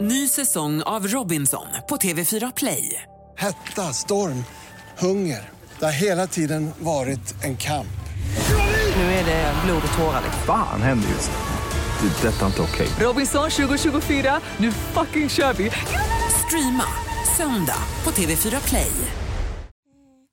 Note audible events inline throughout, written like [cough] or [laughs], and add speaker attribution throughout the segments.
Speaker 1: Ny säsong av Robinson på TV4 Play.
Speaker 2: Hetta, storm, hunger. Det har hela tiden varit en kamp.
Speaker 1: Nu är det blod och tårar.
Speaker 3: Fan händer just nu. Det. är Detta är inte okej.
Speaker 1: Robinson 2024, nu fucking kör vi! Streama söndag på TV4 Play.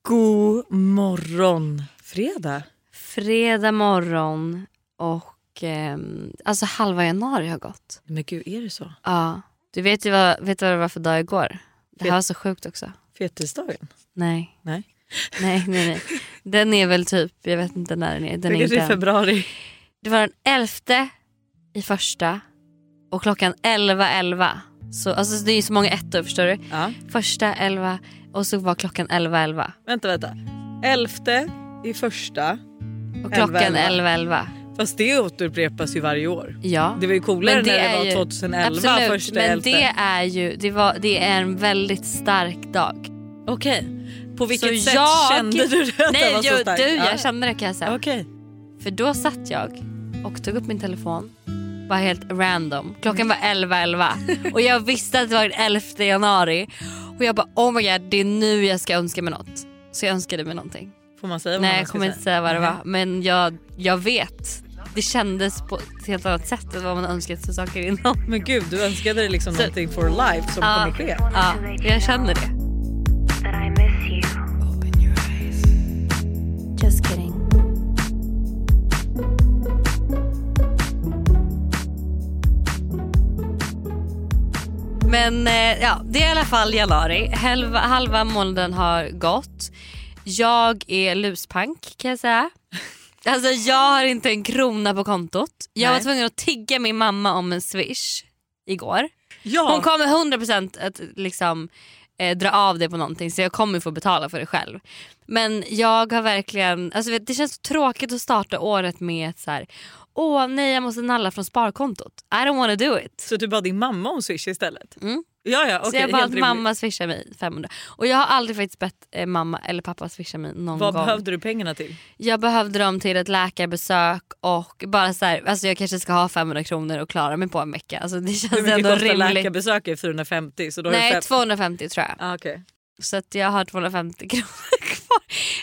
Speaker 4: God morgon, fredag.
Speaker 5: Fredag morgon och ehm, alltså halva januari har gått.
Speaker 4: Men gud, är det så?
Speaker 5: Ja. Du vet ju vad, vet du vad det var för dag igår? Det
Speaker 4: Fet-
Speaker 5: här var så sjukt också.
Speaker 4: Fettisdagen?
Speaker 5: Nej,
Speaker 4: Nej.
Speaker 5: [laughs] nej, nej. nej. Den är väl typ, jag vet inte när den är. Den
Speaker 4: det
Speaker 5: är
Speaker 4: kanske
Speaker 5: inte
Speaker 4: är
Speaker 5: än.
Speaker 4: februari.
Speaker 5: det var den 11 i första och klockan 11.11. Så, alltså, det är ju så många ettor förstår du.
Speaker 4: Ja.
Speaker 5: Första 11 och så var klockan 11.11.
Speaker 4: Vänta, vänta. Elfte i första. 11,
Speaker 5: Och klockan 11.11.
Speaker 4: 11. Fast det återupprepas ju varje år.
Speaker 5: Ja.
Speaker 4: Det var ju coolare
Speaker 5: Men det
Speaker 4: när det
Speaker 5: är
Speaker 4: var
Speaker 5: ju-
Speaker 4: 2011,
Speaker 5: Absolut,
Speaker 4: första
Speaker 5: men
Speaker 4: elfte.
Speaker 5: det är ju det, var, det är en väldigt stark dag.
Speaker 4: Okej. På vilket
Speaker 5: Så
Speaker 4: sätt
Speaker 5: jag-
Speaker 4: kände du det att
Speaker 5: Nej,
Speaker 4: det var så
Speaker 5: jag,
Speaker 4: starkt?
Speaker 5: du, jag
Speaker 4: Ja.
Speaker 5: kände det kan jag säga.
Speaker 4: Okej.
Speaker 5: För då satt jag och tog upp min telefon. Var helt random. Klockan var 11.11
Speaker 4: [laughs]
Speaker 5: och jag visste att det var den 11 januari. Och jag bara oh my god det är nu jag ska önska mig något. Så jag önskade mig någonting.
Speaker 4: Får man säga vad
Speaker 5: Nej
Speaker 4: man
Speaker 5: jag
Speaker 4: ska
Speaker 5: kommer inte säga vad det
Speaker 4: Nej.
Speaker 5: var men jag, jag vet. Det kändes på ett helt annat sätt än vad man önskat sig saker innan.
Speaker 4: Men gud, du önskade dig liksom någonting for life som kommer ske.
Speaker 5: Ja, jag känner det.
Speaker 6: that I miss you.
Speaker 5: Just kidding. Men eh, ja, det är i alla fall januari. Halva, halva månaden har gått. Jag är luspank kan jag [laughs] säga. Alltså jag har inte en krona på kontot. Jag var
Speaker 4: Nej.
Speaker 5: tvungen att tigga min mamma om en swish igår.
Speaker 4: Ja.
Speaker 5: Hon kommer 100% att liksom, eh, dra av det på någonting så jag kommer få betala för det själv. Men jag har verkligen, alltså, vet, det känns så tråkigt att starta året med ett så här, åh nej jag måste nalla från sparkontot. I don't wanna do it.
Speaker 4: Så du bad din mamma om swish istället?
Speaker 5: Mm.
Speaker 4: Ja, ja, okej.
Speaker 5: så jag
Speaker 4: helt
Speaker 5: bad
Speaker 4: rimligt.
Speaker 5: mamma swisha mig 500. Och jag har aldrig faktiskt bett eh, mamma eller pappa swisha mig någon
Speaker 4: Vad
Speaker 5: gång.
Speaker 4: behövde du pengarna till?
Speaker 5: Jag behövde dem till ett läkarbesök och bara så här, alltså jag kanske ska ha 500 kronor och klara mig på en vecka. Alltså det
Speaker 4: Hur
Speaker 5: känns
Speaker 4: mycket
Speaker 5: ändå
Speaker 4: kostar
Speaker 5: rimligt.
Speaker 4: läkarbesök? Är 450? Så då har du
Speaker 5: Nej
Speaker 4: fem-
Speaker 5: 250 tror jag.
Speaker 4: Ah, okej.
Speaker 5: Så att jag har 250 kronor [laughs] kvar.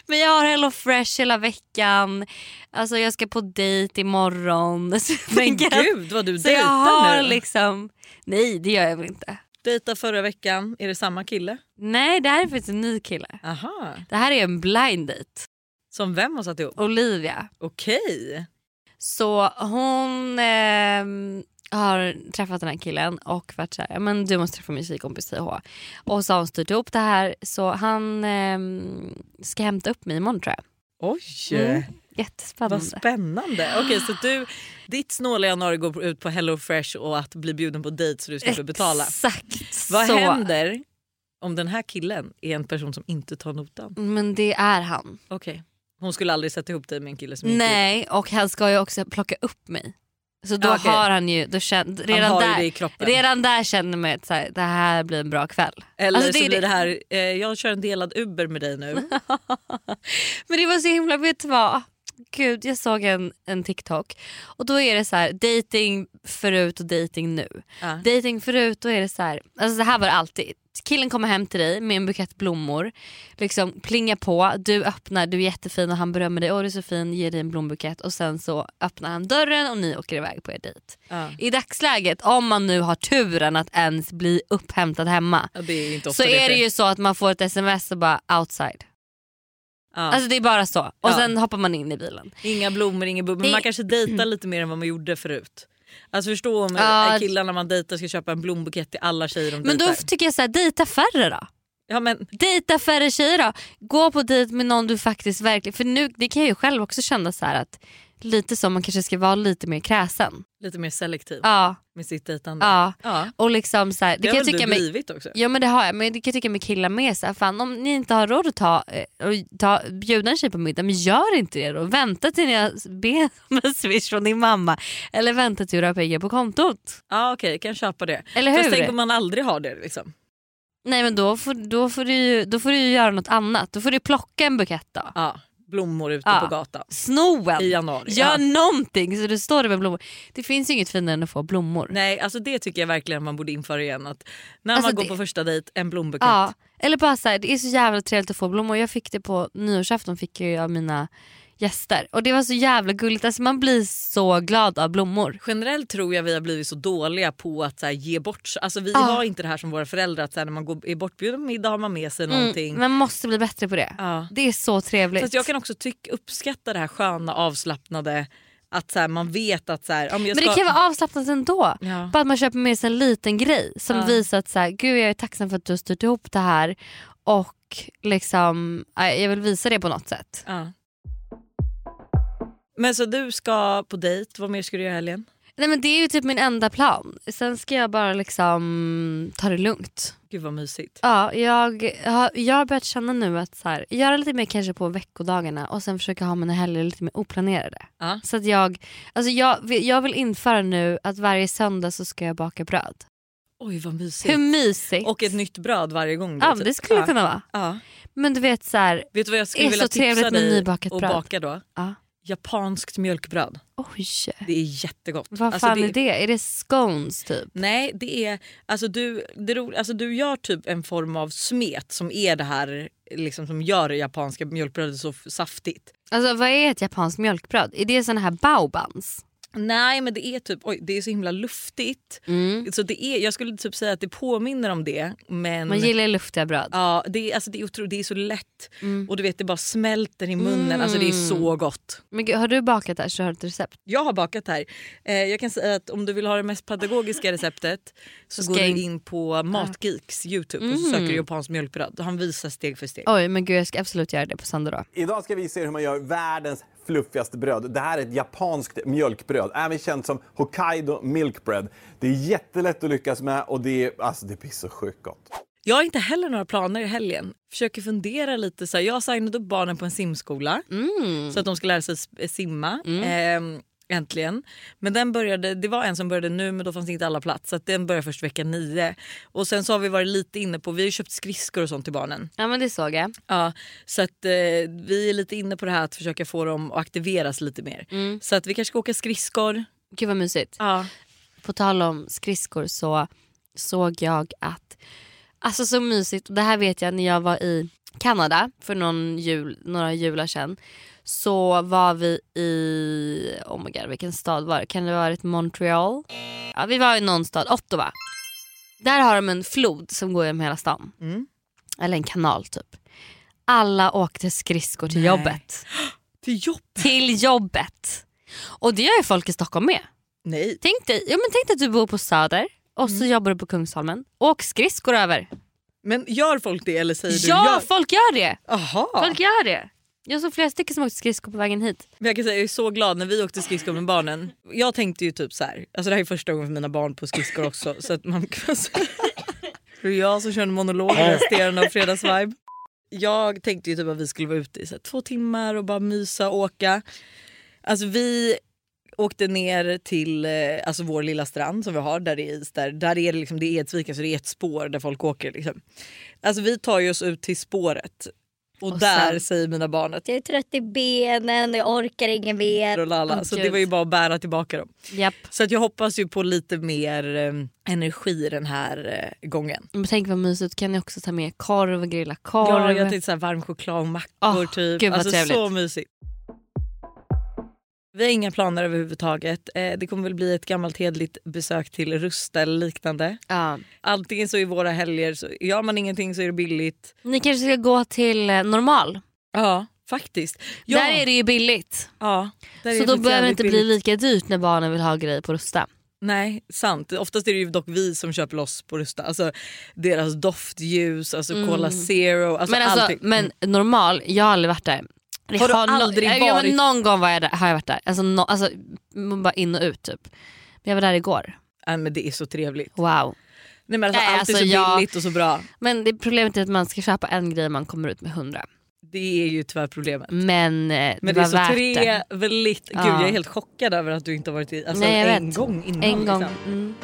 Speaker 5: Men jag har Hello Fresh hela veckan. Alltså jag ska på dejt imorgon. [laughs] Så jag
Speaker 4: Men
Speaker 5: tänker att-
Speaker 4: gud vad du
Speaker 5: Så jag
Speaker 4: dejtar
Speaker 5: har
Speaker 4: nu.
Speaker 5: liksom... Nej det gör jag väl inte.
Speaker 4: Dejta förra veckan, är det samma kille?
Speaker 5: Nej det här är faktiskt en ny kille.
Speaker 4: Aha.
Speaker 5: Det här är en blind date.
Speaker 4: Som vem har satt ihop?
Speaker 5: Olivia.
Speaker 4: Okej.
Speaker 5: Så hon ehm, har träffat den här killen och varit så här, "Ja, men du måste träffa min tjejkompis TH. Och så har hon styrt ihop det här så han ehm, ska hämta upp mig imorgon tror jag.
Speaker 4: Oj,
Speaker 5: Mm.
Speaker 4: vad
Speaker 5: Jättespännande.
Speaker 4: spännande. Okej, så du, ditt snåla januari går ut på Hello Fresh och att bli bjuden på dejt så du slipper betala.
Speaker 5: Exakt
Speaker 4: Vad
Speaker 5: så.
Speaker 4: händer om den här killen är en person som inte tar notan?
Speaker 5: Men det är han.
Speaker 4: Okej. Hon skulle aldrig sätta ihop dig med en kille som inte
Speaker 5: Nej och han ska ju också plocka upp mig. Så då
Speaker 4: Ja, okej.
Speaker 5: har han ju, då känn,
Speaker 4: Han
Speaker 5: redan,
Speaker 4: har ju
Speaker 5: där,
Speaker 4: det i kroppen.
Speaker 5: redan där känner man att så här, det här blir en bra kväll.
Speaker 4: Eller
Speaker 5: Alltså, det
Speaker 4: så
Speaker 5: är
Speaker 4: blir
Speaker 5: det-
Speaker 4: det här, eh, jag kör en delad Uber med dig
Speaker 5: [laughs]
Speaker 4: nu.
Speaker 5: Men det var så himla, vet du vad? Gud jag såg en, en TikTok och då är det så här dating förut och dating nu.
Speaker 4: Ja.
Speaker 5: Dating förut då är det så här, alltså det här var det alltid. Killen kommer hem till dig med en bukett blommor, liksom plingar på, du öppnar, du är jättefin och han berömmer dig, åh du är så fin, ger dig en blombukett och sen så öppnar han dörren och ni åker iväg på er dejt.
Speaker 4: Ja.
Speaker 5: I dagsläget, om man nu har turen att ens bli upphämtad hemma,
Speaker 4: Ja, det är ju inte ofta
Speaker 5: så är det
Speaker 4: sker.
Speaker 5: ju så att man får ett sms och bara outside.
Speaker 4: Ja.
Speaker 5: Alltså det är bara så. Och
Speaker 4: Ja.
Speaker 5: sen hoppar man in i bilen.
Speaker 4: Inga blommor, inga blommor. Men
Speaker 5: Det-
Speaker 4: man kanske dejtar lite mer än vad man gjorde förut. Alltså förstå om
Speaker 5: Ja.
Speaker 4: eh, killarna man dejtar ska köpa en blombukett till alla tjejer de
Speaker 5: Men då
Speaker 4: dejtar.
Speaker 5: tycker jag så här, dejta färre då.
Speaker 4: Ja, men,
Speaker 5: Dejta färre tjejer då. Gå på dejt med någon du faktiskt verkligen... För nu, det kan jag ju själv också känna så här att lite som man kanske ska vara lite mer kräsen.
Speaker 4: lite mer selektiv
Speaker 5: Ja,
Speaker 4: med sitt dejtande.
Speaker 5: ja.
Speaker 4: Ja.
Speaker 5: Och liksom så här,
Speaker 4: Det,
Speaker 5: det kan
Speaker 4: har
Speaker 5: jag
Speaker 4: väl
Speaker 5: tycka
Speaker 4: du
Speaker 5: mig
Speaker 4: blivit också?
Speaker 5: Ja men det har jag, men det kan jag tycka med killar med. Så här, fan, om ni inte har råd att ta, eh, och ta, bjuda en tjej på middag, men gör inte det då. Vänta till jag ber om en swish från din mamma. Eller vänta till du har pengar på kontot.
Speaker 4: Ja okej, kan köpa det.
Speaker 5: Eller hur?
Speaker 4: Fast tänk om man aldrig har det liksom.
Speaker 5: Nej men då får, då, får du ju, då får du ju göra något annat. Då får du plocka en bukett då.
Speaker 4: Ja. blommor ute
Speaker 5: Ja.
Speaker 4: på gatan.
Speaker 5: Snoen!
Speaker 4: I januari,
Speaker 5: Gör
Speaker 4: ja.
Speaker 5: någonting så du står där med blommor. Det finns ju inget finare än att få blommor.
Speaker 4: Nej, alltså det tycker jag verkligen man borde införa igen. Att när
Speaker 5: Alltså
Speaker 4: man går
Speaker 5: det-
Speaker 4: på första dejt, en blombukett.
Speaker 5: Ja, eller bara så här, det är så jävla trevligt att få blommor. Jag fick det på nyårsafton fick jag ju av mina gäster och det var så jävla gulligt. Alltså man blir så glad av blommor.
Speaker 4: Generellt tror jag vi har blivit så dåliga på att så här, ge bort. Alltså, vi har inte det här som våra föräldrar, att så här, när man går, är bortbjuden på middag har man med
Speaker 5: Mm,
Speaker 4: sig någonting.
Speaker 5: Man måste bli bättre på det.
Speaker 4: Ja.
Speaker 5: Det är
Speaker 4: Så
Speaker 5: så trevligt.
Speaker 4: att jag kan också tyck, uppskatta det här sköna avslappnade, att så här, man vet att så här, ja, men jag
Speaker 5: Men
Speaker 4: ska...
Speaker 5: det kan vara avslappnat ändå.
Speaker 4: Ja.
Speaker 5: Bara att man köper med sig en liten grej som visar att så här, Gud, jag är tacksam för att du har styrt ihop det här och liksom, eh, jag vill visa det på något sätt.
Speaker 4: Ja. Men så du ska på dejt, vad mer ska du göra i helgen?
Speaker 5: Nej, men det är ju typ min enda plan. Sen ska jag bara liksom ta det lugnt.
Speaker 4: Gud vad mysigt.
Speaker 5: Ja, jag, har, jag har börjat känna nu att så här, göra lite mer kanske på veckodagarna och sen försöka ha mina helger lite mer oplanerade.
Speaker 4: Ja.
Speaker 5: Så att jag, alltså jag, vill- jag vill införa nu att varje söndag så ska jag baka bröd.
Speaker 4: Oj vad mysigt.
Speaker 5: Hur mysigt?
Speaker 4: Typ. Och ett nytt bröd varje gång. då,
Speaker 5: Ja men
Speaker 4: typ.
Speaker 5: det skulle
Speaker 4: ja.
Speaker 5: det kunna vara.
Speaker 4: Ja.
Speaker 5: Men du vet så här,
Speaker 4: Vet du vad jag skulle
Speaker 5: Är
Speaker 4: vilja
Speaker 5: så trevligt
Speaker 4: tipsa
Speaker 5: med
Speaker 4: dig
Speaker 5: nybakat
Speaker 4: att
Speaker 5: bröd.
Speaker 4: baka då?
Speaker 5: Ja.
Speaker 4: Japanskt mjölkbröd.
Speaker 5: oj,
Speaker 4: Det är jättegott.
Speaker 5: vad fan
Speaker 4: Alltså,
Speaker 5: är det? Är det scones typ?
Speaker 4: Nej, det är... Alltså du, det ro, alltså du gör typ en form av smet som är det här liksom, som gör det japanska mjölkbrödet så f- saftigt.
Speaker 5: Alltså vad är ett japanskt mjölkbröd? Är det såna här baobans?
Speaker 4: Nej, men det är typ... Oj, det är så himla luftigt.
Speaker 5: Mm.
Speaker 4: Så det är, jag skulle typ säga att det påminner om det, men...
Speaker 5: Man gillar ju luftiga bröd.
Speaker 4: Ja, det är, alltså det, är otro, det är så lätt
Speaker 5: Mm.
Speaker 4: och du vet det bara smälter i munnen. Alltså det är så gott.
Speaker 5: Men gud, har du bakat det här så har du ett recept.
Speaker 4: Jag har bakat här. Eh, jag kan säga att om du vill ha det mest pedagogiska receptet så
Speaker 5: Ska
Speaker 4: går
Speaker 5: jag
Speaker 4: du
Speaker 5: in- Mm.
Speaker 4: in på Matgeeks Youtube och så söker du japanskt mjölkbröd. Han visar steg för steg.
Speaker 5: Oj men gud jag ska absolut göra det på söndag då.
Speaker 7: Idag ska vi se hur man gör världens fluffigaste bröd. Det här är ett japanskt mjölkbröd, även känt som Hokkaido Milk Bread. Det är jättelätt att lyckas med och det är, alltså, det blir så sjukt gott.
Speaker 4: Jag har inte heller några planer i helgen. Försöker fundera lite. Så här, jag har signat upp barnen på en simskola
Speaker 5: Mm.
Speaker 4: så att de ska lära sig s- simma. Ehm, Äntligen. Men den började, det var en som började nu men då fanns inte alla plats. Så att den börjar först vecka nio. Och sen så har vi varit lite inne på, vi har ju köpt skridskor och sånt till barnen.
Speaker 5: Ja men det såg jag.
Speaker 4: Ja, så att eh, vi är lite inne på det här att försöka få dem att aktiveras lite mer.
Speaker 5: Mm.
Speaker 4: Så att vi kanske ska åka skridskor.
Speaker 5: Gud vad mysigt.
Speaker 4: Ja.
Speaker 5: På tal om skridskor så såg jag att, alltså så mysigt, och det här vet jag när jag var i Kanada för någon jul, några jular sedan. Så var vi i, oh my god vilken stad var det? Kan det ha varit Montreal? Ja vi var i någon stad, Ottawa. Där har de en flod som går genom hela stan. Eller en kanal typ. Alla åkte skridskor till
Speaker 4: Nej.
Speaker 5: jobbet.
Speaker 4: Till jobb?
Speaker 5: Till jobbet! Och det gör ju folk i Stockholm med.
Speaker 4: Nej.
Speaker 5: Tänk dig, ja, men tänk dig att du bor på Söder och
Speaker 4: Mm.
Speaker 5: så jobbar du på Kungsholmen. Åk skridskor över.
Speaker 4: Men gör folk det eller säger
Speaker 5: ja,
Speaker 4: du gör?
Speaker 5: folk gör det!
Speaker 4: Aha.
Speaker 5: Folk gör det. Jag såg flera stycken som åkte skridskor på vägen hit.
Speaker 4: Men jag kan säga jag är så glad när vi åkte skridskor med barnen. Jag tänkte ju typ så här, alltså det här är första gången för mina barn på skridskor också så att man [laughs] kan säga. Det är jag som körde monologen resterande av fredagsvibe. Jag tänkte ju typ att vi skulle vara ute i så här, två timmar och bara mysa och åka. Alltså vi åkte ner till eh, alltså vår lilla strand som vi har där det är is. Där, där är det, liksom, det är Edsvika så det är ett spår där folk åker. Liksom. Alltså vi tar ju oss ut till spåret och,
Speaker 5: Och
Speaker 4: där
Speaker 5: sen-
Speaker 4: säger mina barn att
Speaker 8: Jag är trött i benen, jag orkar ingen mer.
Speaker 4: och lalla.
Speaker 5: Åh,
Speaker 4: så det
Speaker 5: gud.
Speaker 4: var ju bara att bära tillbaka dem.
Speaker 5: Japp.
Speaker 4: Så att jag hoppas ju på lite mer eh, energi den här eh, gången.
Speaker 5: Men tänk vad mysigt, kan ni också ta med korv och grilla
Speaker 4: Ja,
Speaker 5: korv?
Speaker 4: jag tänkte så här varm choklad och mackor.
Speaker 5: Åh,
Speaker 4: typ.
Speaker 5: gud vad
Speaker 4: alltså,
Speaker 5: trevligt.
Speaker 4: Så mysigt. Vi har inga planer överhuvudtaget. Eh, det kommer väl bli ett gammalt hederligt besök till Rusta eller liknande.
Speaker 5: ja.
Speaker 4: Antingen så i våra helger, så gör man ingenting så är det billigt.
Speaker 5: Ni kanske ska gå till eh, Normal.
Speaker 4: Ja, faktiskt. Ja,
Speaker 5: Där är det ju billigt.
Speaker 4: Ja, där är
Speaker 5: så
Speaker 4: det
Speaker 5: då
Speaker 4: faktiskt
Speaker 5: behöver det
Speaker 4: jävligt
Speaker 5: inte bli
Speaker 4: billigt. Alltså,
Speaker 5: lika dyrt när barnen vill ha grejer på Rusta.
Speaker 4: Nej, sant. Oftast är det ju dock vi som köper loss på Rusta. Alltså, deras doftljus, alltså Cola Zero, alltså,
Speaker 5: Mm. men, alltså,
Speaker 4: allting.
Speaker 5: men Normal, jag har aldrig varit där. Jag
Speaker 4: Har du
Speaker 5: no-
Speaker 4: aldrig
Speaker 5: Ja, jo,
Speaker 4: varit?
Speaker 5: men någon gång var jag där, har jag varit där. Alltså, no, alltså, man bara in och ut typ. Men jag var där igår.
Speaker 4: Nej, men det är så trevligt.
Speaker 5: Wow.
Speaker 4: Nej, men alltså,
Speaker 5: Nej,
Speaker 4: allt är
Speaker 5: alltså,
Speaker 4: så
Speaker 5: jag-
Speaker 4: billigt och så bra.
Speaker 5: Men det problemet är att man ska köpa en grej man kommer ut med hundra.
Speaker 4: Det är ju tyvärr problemet.
Speaker 5: Men, eh,
Speaker 4: Men det,
Speaker 5: det
Speaker 4: är
Speaker 5: var värt
Speaker 4: så
Speaker 5: det.
Speaker 4: trevligt. Gud,
Speaker 5: Ja.
Speaker 4: jag är helt chockad över att du inte har varit i, alltså,
Speaker 5: Nej, jag
Speaker 4: en
Speaker 5: vet.
Speaker 4: gång innan.
Speaker 5: En gång.
Speaker 4: Liksom.
Speaker 5: Mm.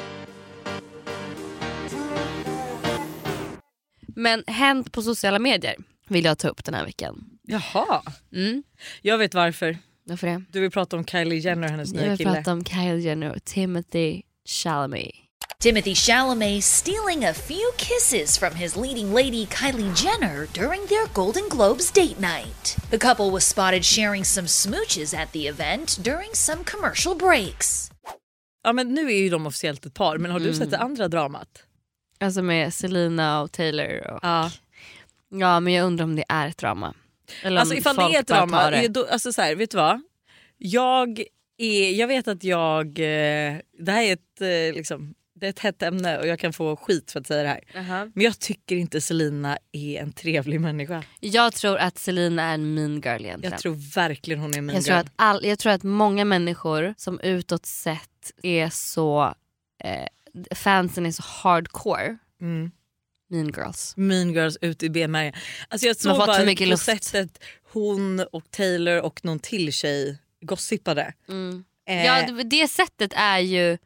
Speaker 5: Men hänt på sociala medier vill jag ta upp den här veckan.
Speaker 4: Jaha.
Speaker 5: Mm.
Speaker 4: Jag vet varför.
Speaker 5: Varför det?
Speaker 4: Du vill prata om Kylie Jenner och hennes
Speaker 5: Jag
Speaker 4: nya
Speaker 5: vill
Speaker 4: kille.
Speaker 5: prata om Kylie Jenner och Timothy Chalamet.
Speaker 9: Timothy Chalamet stealing a few kisses from his leading lady Kylie Jenner during their Golden Globes date night. The couple was spotted sharing some smooches at the event during some commercial breaks.
Speaker 4: Ja, men nu är ju de officiellt ett par, men har
Speaker 5: Mm.
Speaker 4: du sett det andra dramat?
Speaker 5: Alltså med Selena och Taylor. Och,
Speaker 4: Ja.
Speaker 5: Ja men jag undrar om det är ett drama. Eller om
Speaker 4: Alltså ifall det
Speaker 5: folk
Speaker 4: är ett
Speaker 5: bara
Speaker 4: drama,
Speaker 5: tar
Speaker 4: är då, alltså så här, vet du vad? Jag, är, jag vet att jag, eh, det här är ett, eh, liksom, det är ett hett ämne och jag kan få skit för att säga det här.
Speaker 5: Aha.
Speaker 4: Men jag tycker inte Selina är en trevlig människa.
Speaker 5: Jag tror att Selena är en mean girl egentligen.
Speaker 4: Jag tror verkligen hon är min
Speaker 5: jag, tror att all, jag tror att många människor som utåt sett är så, eh, fansen är så hardcore.
Speaker 4: Mm.
Speaker 5: Mean girls.
Speaker 4: Mean Girls ut i benmärgen. Alltså jag såg
Speaker 5: fått
Speaker 4: bara
Speaker 5: för mycket
Speaker 4: på
Speaker 5: luft.
Speaker 4: sättet hon och Taylor och någon till tjej gossipade.
Speaker 5: Mm.
Speaker 4: Eh,
Speaker 5: Ja det, det sättet är ju,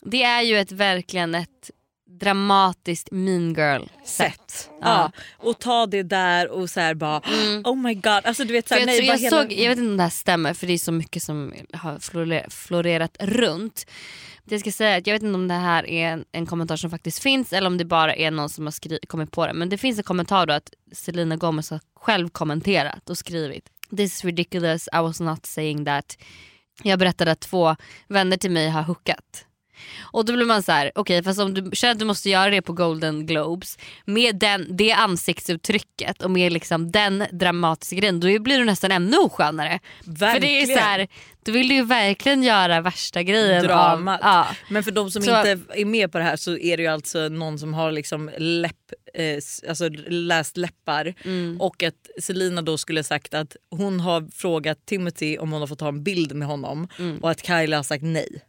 Speaker 5: det är ju ett verkligen ett dramatiskt mean girl sätt.
Speaker 4: Ja. Och ta det där och så här bara oh my god. Alltså du vet så
Speaker 5: Mm.
Speaker 4: här,
Speaker 5: För jag,
Speaker 4: nej,
Speaker 5: tror, jag,
Speaker 4: bara hela...
Speaker 5: såg, jag vet inte om det här stämmer för det är så mycket som har flore- florerat runt. Det jag ska säga är att jag vet inte om det här är en, en kommentar som faktiskt finns eller om det bara är någon som har skri- kommit på det. Men det finns en kommentar då att Selena Gomez har själv kommenterat och skrivit This is ridiculous, I was not saying that. Jag berättade att två vänner till mig har hookat. Och då blir man så här: okej fast om du känner att du måste göra det på Golden Globes med den, det ansiktsuttrycket och med liksom den dramatiska grejen då blir du nästan ännu oskönare. För det är
Speaker 4: Verkligen.
Speaker 5: så här, då vill du ju verkligen göra värsta grejen
Speaker 4: dramat.
Speaker 5: av... Ja.
Speaker 4: Typ Men för de som
Speaker 5: Så-
Speaker 4: inte är med på det här så är det ju alltså någon som har liksom läpp, eh, s- alltså läst läppar
Speaker 5: Mm.
Speaker 4: och att Selina då skulle sagt att hon har frågat Timothy om hon har fått ta en bild med honom
Speaker 5: Mm.
Speaker 4: och att Kylie har sagt nej.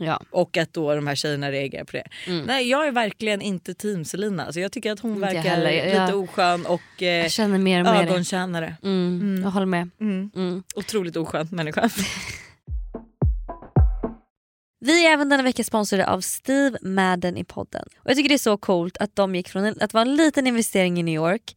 Speaker 5: Ja.
Speaker 4: Och att då de här tjejerna reagerar på det. Nej jag är verkligen inte team Selina. Alltså jag tycker att hon
Speaker 5: Mm. Inte jag
Speaker 4: verkar
Speaker 5: heller.
Speaker 4: lite
Speaker 5: Jag-
Speaker 4: oskön och eh,
Speaker 5: Jag känner mer och mer det.
Speaker 4: ögontjänare.
Speaker 5: Mm, Jag håller med.
Speaker 4: Mm.
Speaker 5: Mm.
Speaker 4: Otroligt oskön människa.
Speaker 9: Vi är även denna vecka sponsrade av Steve Madden i podden. Och jag tycker det är så coolt att de gick från en, att vara en liten investering i New York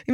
Speaker 4: Ja,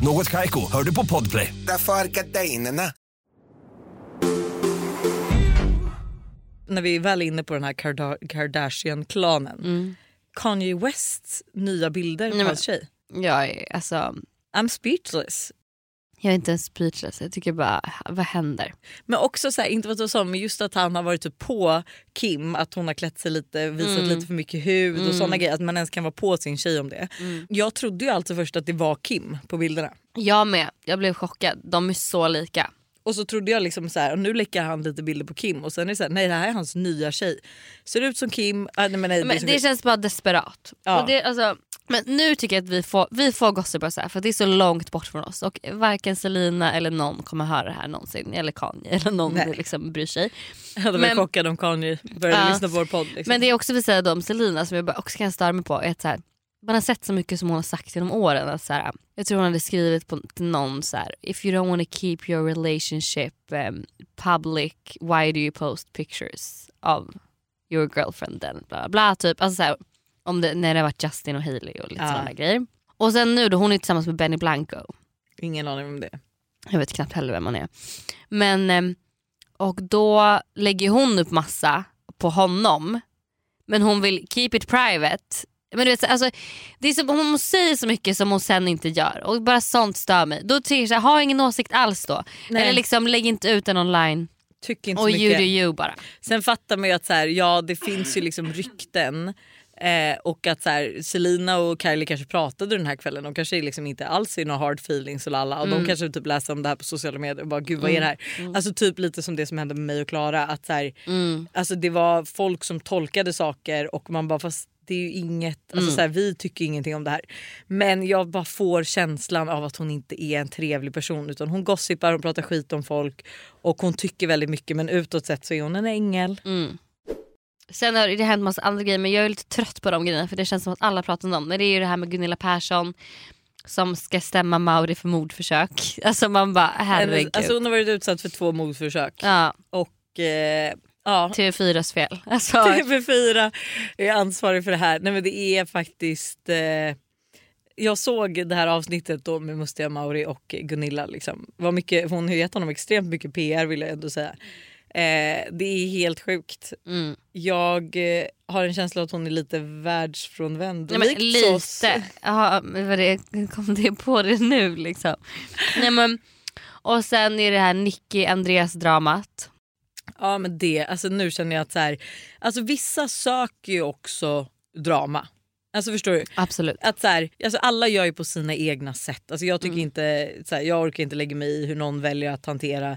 Speaker 10: Något Kaiko, hör du på podplay.
Speaker 11: Därför är gardinerna.
Speaker 4: När vi är väl inne på den här Karda- Kardashian-klanen. Kanye Wests nya bilder på
Speaker 5: Mm. Nej, men-
Speaker 4: hans tjej.
Speaker 5: Jag är, alltså,
Speaker 4: I'm speechless.
Speaker 5: jag är inte ens speechless. Jag tycker bara, vad händer?
Speaker 4: Men också så här, inte vad du sa, men just att han har varit typ på Kim, att hon har klätt sig lite, visat
Speaker 5: Mm.
Speaker 4: lite för mycket hud och
Speaker 5: Mm.
Speaker 4: såna grejer. Att man ens kan vara på sin tjej om det. Jag trodde ju alltid först att det var Kim på bilderna.
Speaker 5: Jag med. Jag blev chockad. De är så lika.
Speaker 4: Och så trodde jag liksom så här, och nu läcker han lite bilder på Kim och sen är det så här, nej det här är hans nya tjej. Ser ut som Kim, ah, nej men nej.
Speaker 5: Men
Speaker 4: som
Speaker 5: det
Speaker 4: Kim.
Speaker 5: känns bara desperat.
Speaker 4: Ja.
Speaker 5: Och det, alltså, men nu tycker jag att vi får, vi får gossipa så här för det är så långt bort från oss. Och varken Selina eller någon kommer höra det här någonsin. Eller Kanye eller någon
Speaker 4: Nej.
Speaker 5: liksom bryr sig.
Speaker 4: Jag hade varit
Speaker 5: men-
Speaker 4: chockad om Kanye började
Speaker 5: Ja.
Speaker 4: lyssna på vår podd. Liksom.
Speaker 5: Men det är också vill säga då om Selina som jag bara också kan störa mig på. Är att så här, man har sett så mycket som hon har sagt genom åren. Att så här, jag tror hon hade skrivit på, till någon så här, If you don't want to keep your relationship um, public, why do you post pictures of your girlfriend then? Bla, bla, bla, typ. alltså så här, om det, när det har varit Justin och Hailey och lite
Speaker 4: Ja.
Speaker 5: sådana grejer. Och sen nu då, hon är tillsammans med Benny Blanco.
Speaker 4: Ingen aning om det.
Speaker 5: Jag vet knappt heller vem han är. Men, ehm, och då lägger hon upp massa på honom. Men hon vill keep it private. Men du vet, så- alltså, det är som, hon säger så mycket som hon sen inte gör. Och bara sånt stör mig. Då tycker jag så här, ha ingen åsikt alls då.
Speaker 4: Nej.
Speaker 5: Eller liksom lägg inte ut den online.
Speaker 4: Tycker inte
Speaker 5: Och
Speaker 4: så
Speaker 5: you
Speaker 4: mycket.
Speaker 5: do you bara.
Speaker 4: Sen fattar man ju att så här, ja, det finns ju liksom rykten eh, och att så här, Selina och Kylie kanske pratade den här kvällen. De kanske liksom inte alls är några hard feelings och lalla och de
Speaker 5: Mm.
Speaker 4: kanske typ läste om det här på sociala medier och bara gud vad är det här?
Speaker 5: Mm.
Speaker 4: Alltså typ lite som det som hände med mig och Klara. Att så här,
Speaker 5: Mm.
Speaker 4: alltså, det var folk som tolkade saker och man bara fast det är ju inget, alltså,
Speaker 5: Mm.
Speaker 4: så här, vi tycker ingenting om det här. Men jag bara får känslan av att hon inte är en trevlig person utan hon gossipar, hon pratar skit om folk och hon tycker väldigt mycket men utåt sett så är hon en ängel.
Speaker 5: Mm. Sen har det hänt massa andra grejer men jag är lite trött på de grejerna för det känns som att alla pratar om dem. Men det är ju det här med Gunilla Persson som ska stämma Mauri för mordförsök. [laughs] Alltså man bara herregud.
Speaker 4: Alltså hon har varit utsatt för två mordförsök.
Speaker 5: ja,
Speaker 4: Och, eh, ja.
Speaker 5: TV4s fel. Alltså,
Speaker 4: TV4 är ansvarig för det här. Nej men det är faktiskt... Eh, jag såg det här avsnittet då med Mustiga Mauri och Gunilla. Liksom. Vad mycket, hon har gett honom extremt mycket PR vill jag ändå säga. Eh, det är helt sjukt.
Speaker 5: mm.
Speaker 4: Jag eh, har en känsla att hon är lite världsfrånvänd.
Speaker 5: Nej, men,
Speaker 4: Likt oss.
Speaker 5: lite. Ja, men vad det, kom det på det nu liksom? Nej, men, och sen är det här Nicky Andreas dramat.
Speaker 4: Ja men det, alltså nu känner jag att så här, alltså vissa söker ju också drama. Alltså förstår du?
Speaker 5: Absolut.
Speaker 4: Att så här, alltså alla gör ju på sina egna sätt. Alltså jag, tycker
Speaker 5: Mm.
Speaker 4: inte, så här, jag orkar inte lägga mig i hur någon väljer att hantera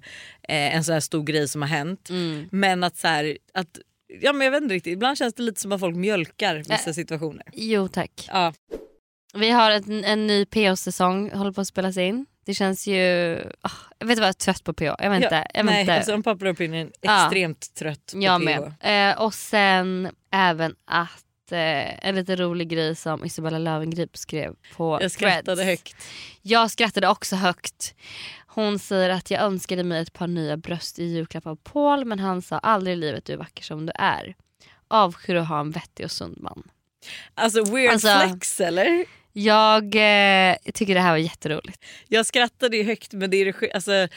Speaker 4: eh, en så här stor grej som har hänt.
Speaker 5: Mm.
Speaker 4: Men att så här, att, ja, men jag vet inte riktigt, ibland känns det lite som att folk mjölkar vissa
Speaker 5: Ä-
Speaker 4: situationer.
Speaker 5: Jo tack.
Speaker 4: Ja.
Speaker 5: Vi har ett, en ny PO-säsong håller på att spelas in. Det känns ju... ah, jag vet inte vad, jag är trött på PO. Jag vet inte. Jag vet
Speaker 4: nej,
Speaker 5: inte.
Speaker 4: alltså en popular opinion,
Speaker 5: Ja.
Speaker 4: extremt trött på
Speaker 5: jag
Speaker 4: PH.
Speaker 5: med. Eh, och sen även att eh, en lite rolig grej som Isabella Löwengrip skrev på
Speaker 4: Jag skrattade
Speaker 5: Threads.
Speaker 4: högt.
Speaker 5: Jag skrattade också högt. Hon säger att jag önskade mig ett par nya bröst i julklapp av Paul men han sa aldrig i livet du är vacker som du är. Avskyr att ha en vettig och sund man.
Speaker 4: Alltså weird
Speaker 5: Alltså-
Speaker 4: flex eller?
Speaker 5: Jag eh, tycker det här var jätteroligt.
Speaker 4: Jag skrattade ju högt men det är det sj- alltså,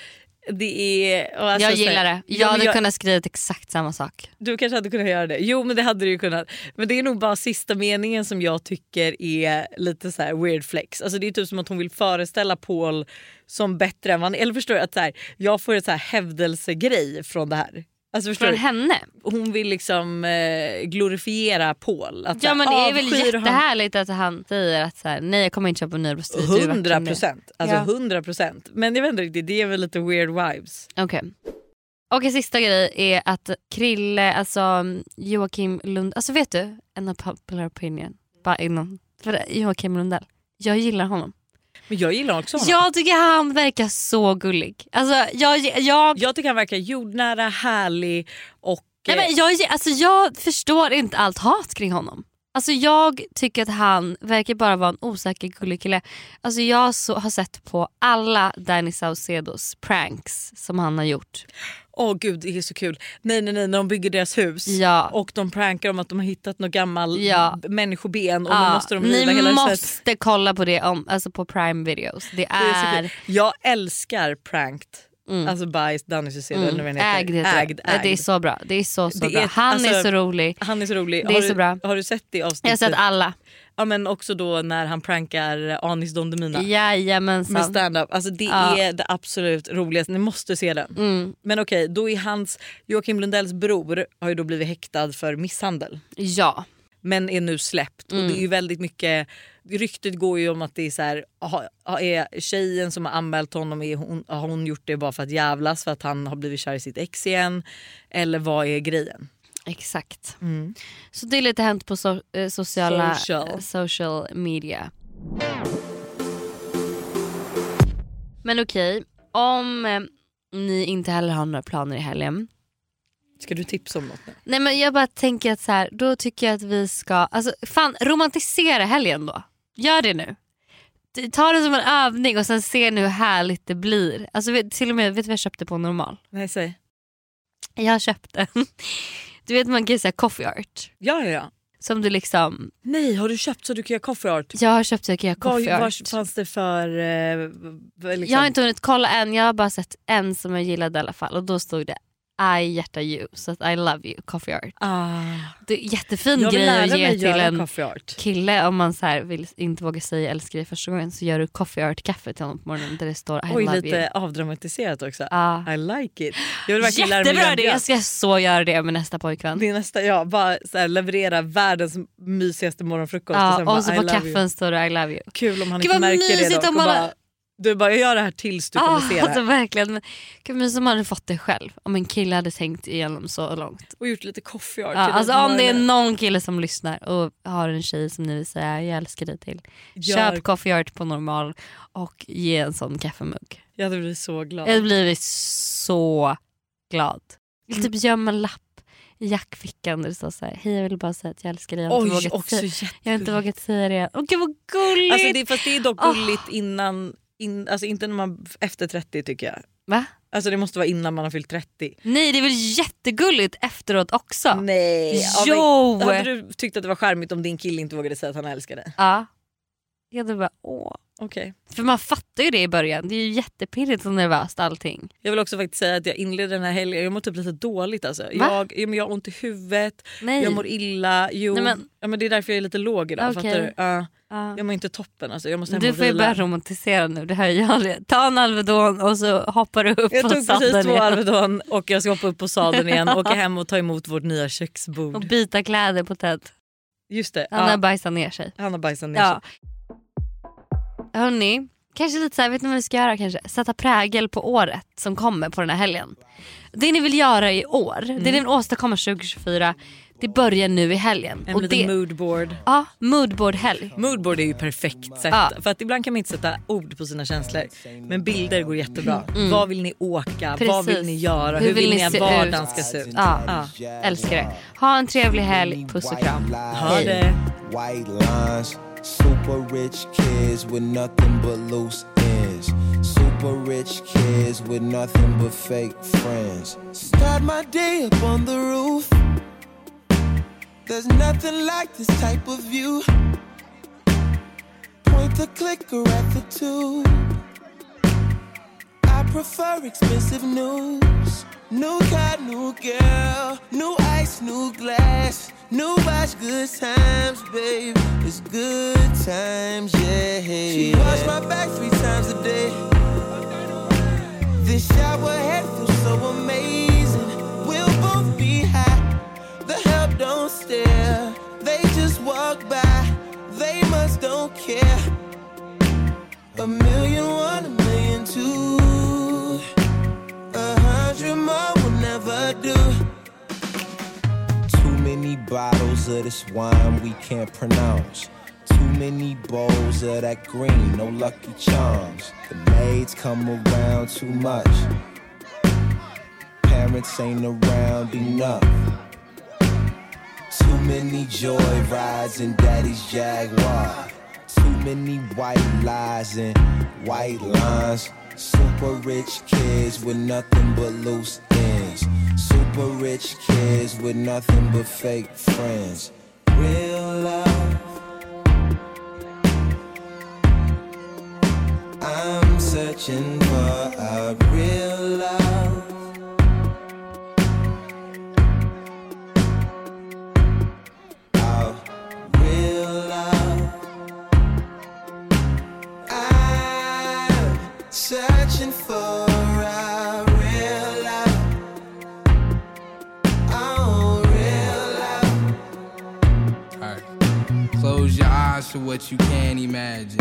Speaker 4: det är... och alltså,
Speaker 5: jag
Speaker 4: så här-
Speaker 5: gillar det. Jag
Speaker 4: Ja, men
Speaker 5: hade
Speaker 4: jag-
Speaker 5: kunnat skrivit exakt samma sak.
Speaker 4: Du kanske hade kunnat göra det. Jo men det hade du ju kunnat. Men det är nog bara sista meningen som jag tycker är lite så här weird flex. Alltså det är typ som att hon vill föreställa Paul som bättre än vad han Eller förstår du? Att så här, jag får en så här hävdelsegrej från det här. Alltså förstår
Speaker 5: Från
Speaker 4: du?
Speaker 5: henne.
Speaker 4: Hon vill liksom eh, glorifiera Paul. Att så här, "Ah,
Speaker 5: Ja men det är väl
Speaker 4: avskyr honom.
Speaker 5: jättehärligt att han säger att så här, nej jag kommer inte köpa en ny bröst. Du är verkligen det.
Speaker 4: 100 procent. Alltså
Speaker 5: Ja.
Speaker 4: 100 procent. Men jag vet inte riktigt, det är väl lite weird vibes.
Speaker 5: Okej. Och en sista grej är att Krille, alltså Joakim Lund, alltså vet du, en popular opinion, bara inom, för Joakim Lundell, jag gillar honom.
Speaker 4: Men jag gillar också honom.
Speaker 5: Jag tycker han verkar så gullig. Alltså, jag, jag...
Speaker 4: jag tycker han verkar jordnära, härlig och... eh,
Speaker 5: Nej, men jag, alltså, jag förstår inte allt hat kring honom. Alltså jag tycker att han verkar bara vara en osäker gullig kille. Alltså jag så, har sett på alla Danny Saucedos pranks som han har gjort.
Speaker 4: Åh gud det är så kul. Nej nej nej när de bygger deras hus
Speaker 5: Ja.
Speaker 4: och de prankar om att de har hittat något gammalt
Speaker 5: Ja.
Speaker 4: människoben och
Speaker 5: Ja,
Speaker 4: nu måste de riva hela
Speaker 5: ni
Speaker 4: huset.
Speaker 5: måste kolla på det om, alltså på Prime videos. Det
Speaker 4: Det är så
Speaker 5: är...
Speaker 4: kul. Jag älskar pranked. Alltså by Danny Saucedo
Speaker 5: Mm.
Speaker 4: eller vad den heter.
Speaker 5: Ägd heter
Speaker 4: ägd,
Speaker 5: det. Nej, Det är så bra. Det är så, så bra. Han är
Speaker 4: alltså,
Speaker 5: så rolig.
Speaker 4: Han är så rolig.
Speaker 5: Det
Speaker 4: har,
Speaker 5: är så
Speaker 4: du,
Speaker 5: bra.
Speaker 4: har du sett det avsnittet?
Speaker 5: Jag har sett alla.
Speaker 4: Ja men också då när han prankar Anis Don Demina.
Speaker 5: Jajamensan.
Speaker 4: Med stand-up. Alltså det
Speaker 5: Ja.
Speaker 4: är det absolut roligaste, ni måste se den.
Speaker 5: Mm.
Speaker 4: Men okej, då är hans, Joakim Lundells bror har ju då blivit häktad för misshandel.
Speaker 5: Ja.
Speaker 4: Men är nu släppt
Speaker 5: Mm.
Speaker 4: och det är ju väldigt mycket, ryktet går ju om att det är så här, ha- ha- är tjejen som har anmält honom, är hon, har hon gjort det bara för att jävlas för att han har blivit kär i sitt ex igen? Eller vad är grejen?
Speaker 5: Exakt. Så det är lite hänt på so eh, sociala
Speaker 4: Mm. Social.
Speaker 5: eh, social media. Men okej, om eh, ni inte heller har några planer i helgen.
Speaker 4: Ska du tipsa om något nu?
Speaker 5: Nej men jag bara tänker att så här, då tycker jag att vi ska, alltså fan romantisera helgen då. Gör det nu. Du- Ta det som en övning och sen se nu hur härligt det blir. Alltså vet- till och med, vet du vad jag köpte på normal?
Speaker 4: Nej säg.
Speaker 5: Jag köpte, du vet man kan säga coffee art.
Speaker 4: Ja ja ja.
Speaker 5: Som du liksom,
Speaker 4: Nej har du köpt så du kan göra coffee art?
Speaker 5: jag har köpt så jag kan göra
Speaker 4: Vad
Speaker 5: coffee art.
Speaker 4: vad fanns det för... Eh, v- liksom?
Speaker 5: Jag har inte hunnit kolla än, jag har bara sett en som jag gillade i alla fall och då stod det I hjärta you, så att I love you, coffee art.
Speaker 4: Ah.
Speaker 5: Det är en jättefin
Speaker 4: Jag vill
Speaker 5: grej
Speaker 4: lära
Speaker 5: att ge
Speaker 4: mig
Speaker 5: till
Speaker 4: göra
Speaker 5: en
Speaker 4: coffee art.
Speaker 5: kille om man så här vill inte vågar säga älskar dig första gången så gör du coffee art kaffe till honom på morgonen där det står I
Speaker 4: Oj
Speaker 5: love
Speaker 4: lite
Speaker 5: you.
Speaker 4: avdramatiserat också.
Speaker 5: Ah.
Speaker 4: I like it. Jag vill verkligen lära mig
Speaker 5: Jättebra
Speaker 4: göra
Speaker 5: det, jag ska så göra det med nästa pojkvän.
Speaker 4: Det är nästa, ja, bara så här, leverera världens mysigaste morgonfrukost
Speaker 5: Ja,
Speaker 4: och sen bara,
Speaker 5: och så
Speaker 4: I
Speaker 5: på
Speaker 4: love you."
Speaker 5: kaffen står det I love you.
Speaker 4: Kul om han
Speaker 5: Gud,
Speaker 4: inte
Speaker 5: vad
Speaker 4: märker det
Speaker 5: mysigt
Speaker 4: dock
Speaker 5: om
Speaker 4: och
Speaker 5: man-
Speaker 4: bara, Du bara jag gör det här tills du kommer
Speaker 5: Ah,
Speaker 4: se det
Speaker 5: alltså
Speaker 4: här.
Speaker 5: verkligen. Men, Gud, men som hade fått det själv om en kille hade tänkt igenom så långt.
Speaker 4: Och gjort lite coffee art.
Speaker 5: Ja,
Speaker 4: till
Speaker 5: alltså
Speaker 4: den
Speaker 5: om det är
Speaker 4: morgonen.
Speaker 5: någon kille som lyssnar och har en tjej som ni vill säga jag älskar dig till.
Speaker 4: Gör-
Speaker 5: Köp coffee art på normal och ge en sån kaffemugg.
Speaker 4: Jag hade blivit så glad.
Speaker 5: Jag hade blivit så glad.
Speaker 4: Mm.
Speaker 5: Jag typ göm en lapp i jackfickan där det står så här, hej jag vill bara säga att jag älskar dig. Jag har inte
Speaker 4: Oj,
Speaker 5: vågat
Speaker 4: också
Speaker 5: säga-
Speaker 4: jättegulligt.
Speaker 5: Jag har inte vågat säga det än. Åh gud vad gulligt!
Speaker 4: Alltså det, fast det är dock
Speaker 5: Ah.
Speaker 4: gulligt innan, in, alltså inte när man efter 30 tycker jag.
Speaker 5: Va?
Speaker 4: Alltså det måste vara innan man har fyllt 30.
Speaker 5: Nej det är väl jättegulligt efteråt också?
Speaker 4: Nej!
Speaker 5: Jo!
Speaker 4: Hade du tyckt att det var charmigt om din kille inte vågade säga att han älskar dig?
Speaker 5: Ja. Jag hade bara åh.
Speaker 4: Okej.
Speaker 5: För man fattar ju det i början. Det är ju jättepirrigt och nervöst allting.
Speaker 4: Jag vill också faktiskt säga att jag inleder den här helgen, jag mår typ lite dåligt alltså. Jag, ja, men jag har ont i huvudet,
Speaker 5: Nej.
Speaker 4: jag mår illa. Jo,
Speaker 5: Nej, men-
Speaker 4: ja, men det är därför jag är lite låg idag.
Speaker 5: Okej.
Speaker 4: Fattar du? Ja.
Speaker 5: Ja.
Speaker 4: Jag mår inte toppen alltså. Jag måste hem
Speaker 5: Du
Speaker 4: och
Speaker 5: får ju
Speaker 4: vila.
Speaker 5: börja romantisera nu. Det här är jag. Ta en Alvedon och så hoppar du upp
Speaker 4: Jag
Speaker 5: på
Speaker 4: tog precis
Speaker 5: sadeln
Speaker 4: två
Speaker 5: igen.
Speaker 4: Alvedon och jag ska hoppa upp på sadeln
Speaker 5: [laughs]
Speaker 4: igen och åka hem och ta emot vårt nya köksbord.
Speaker 5: Och byta kläder på Ted.
Speaker 4: Just det.
Speaker 5: Han
Speaker 4: ja.
Speaker 5: har bajsat ner sig.
Speaker 4: Han har bajsat ner
Speaker 5: Ja.
Speaker 4: sig.
Speaker 5: Hörni, kanske lite så här, vet ni vad vi ska göra kanske? Sätta prägel på året som kommer på den här helgen. Det ni vill göra i år,
Speaker 4: Mm.
Speaker 5: det ni vill åstadkomma 2024, det börjar nu i helgen.
Speaker 4: En
Speaker 5: Och
Speaker 4: liten
Speaker 5: det-
Speaker 4: moodboard.
Speaker 5: Ja, moodboard-helg.
Speaker 4: Moodboard är ju perfekt sätt.
Speaker 5: Ja.
Speaker 4: För att ibland kan man inte sätta ord på sina känslor. Men bilder går jättebra.
Speaker 5: Mm.
Speaker 4: Vad vill ni åka? Vad
Speaker 5: Precis.
Speaker 4: vill ni göra? Hur, vill ni att vardagen ska se ut?
Speaker 5: Ja, älskar det. Ha en trevlig helg, puss och kram.
Speaker 4: Ha det.
Speaker 12: White lines, super rich kids with nothing but loose ends. Super rich kids with nothing but fake friends.
Speaker 13: Start my day up on the roof. There's nothing like this type of view. Point the clicker at the two. I prefer expensive news. New car, new girl, new ice, new glass, new watch. Good times, babe. It's good times, yeah. She wash my back three times a day. This shower head feels so amazing. We'll both be high. The help don't stare. They just walk by. They must don't care. A million one, a million two. A hundred more will never do.
Speaker 12: Too many bottles of this wine we can't pronounce. Too many bowls of that green, no lucky charms. The maids come around too much. Parents ain't around enough. Too many joy rides in daddy's Jaguar. Too many white lies and white lines. Super rich kids with nothing but loose ends. Super rich kids with nothing but fake friends. Real love. I'm searching for a real love. A real love. I'm searching for a real love. Oh, real love.
Speaker 14: Alright. Close your eyes to what you can't imagine.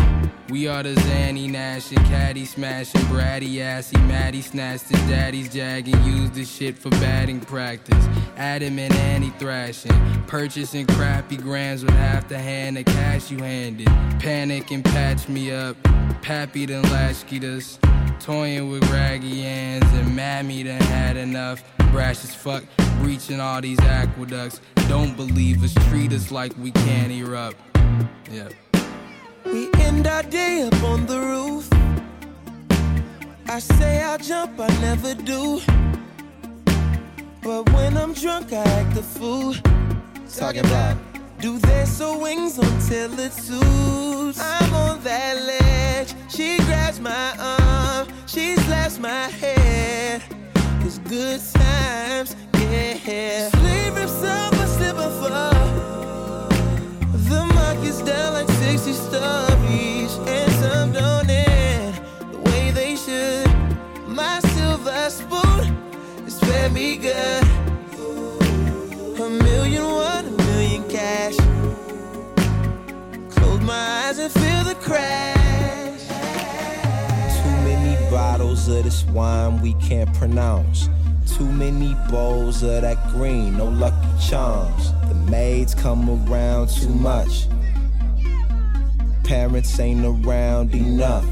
Speaker 14: We are the Zanny Nash and Caddy smashing, bratty assy, Matty snatched his daddy's jagging, used this shit for batting practice. Adam and Annie thrashing, purchasing crappy grams with half the hand of cash you handed. Panic and patch me up, Pappy done latchkeyed us. Toying with raggy hands, and Mammy done had enough. Brash as fuck, breaching all these aqueducts. Don't believe us, treat us like we can't erupt. Yeah.
Speaker 15: We end our day up on the roof. I say I'll jump, I never do. But when I'm drunk, I act a fool. Talking black. Do they sew wings until it suits? I'm on that ledge. She grabs my arm. She slaps my head. It's good times, yeah. Sleep rips up, I slip and fall. The market's down like 60 stories, and some don't end the way they should. My silver spoon is fed me good. A million one, a million cash. Close my eyes and feel the crash.
Speaker 12: Too many bottles of this wine we can't pronounce. Too many bowls of that green, no lucky charms. The maids come around too much. Parents ain't around enough.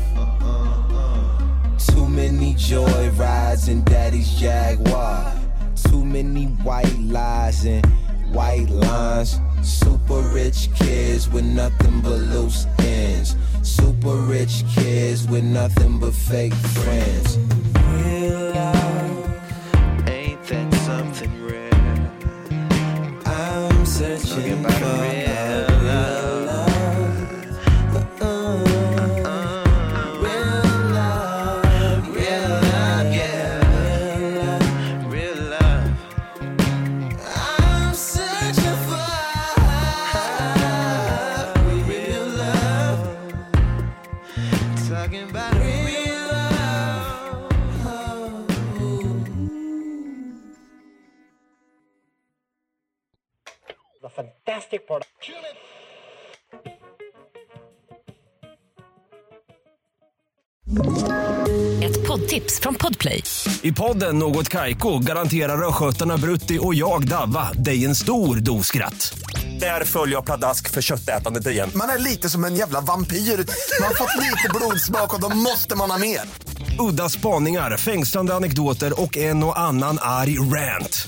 Speaker 12: Too many joy rides in daddy's Jaguar. Too many white lies and white lines. Super rich kids with nothing but loose ends. Super rich kids with nothing but fake friends. Real love, ain't that something rare? I'm searching for a real love. Uh-uh. Real love, real love, yeah. Real love. I'm searching for real love. Talking about real love.
Speaker 16: a fantastic product.
Speaker 5: Ett poddtips från Podplay.
Speaker 7: I podden Något Kaiko garanterar östgötarna Brutti och jag, Davva, dig en stor dos skratt. Där följer jag pladask för köttätandet igen.
Speaker 17: Man är lite som en jävla vampyr. Man har fått lite blodsmak och då måste man ha mer.
Speaker 7: Udda spaningar, fängslande anekdoter och en och annan arg rant.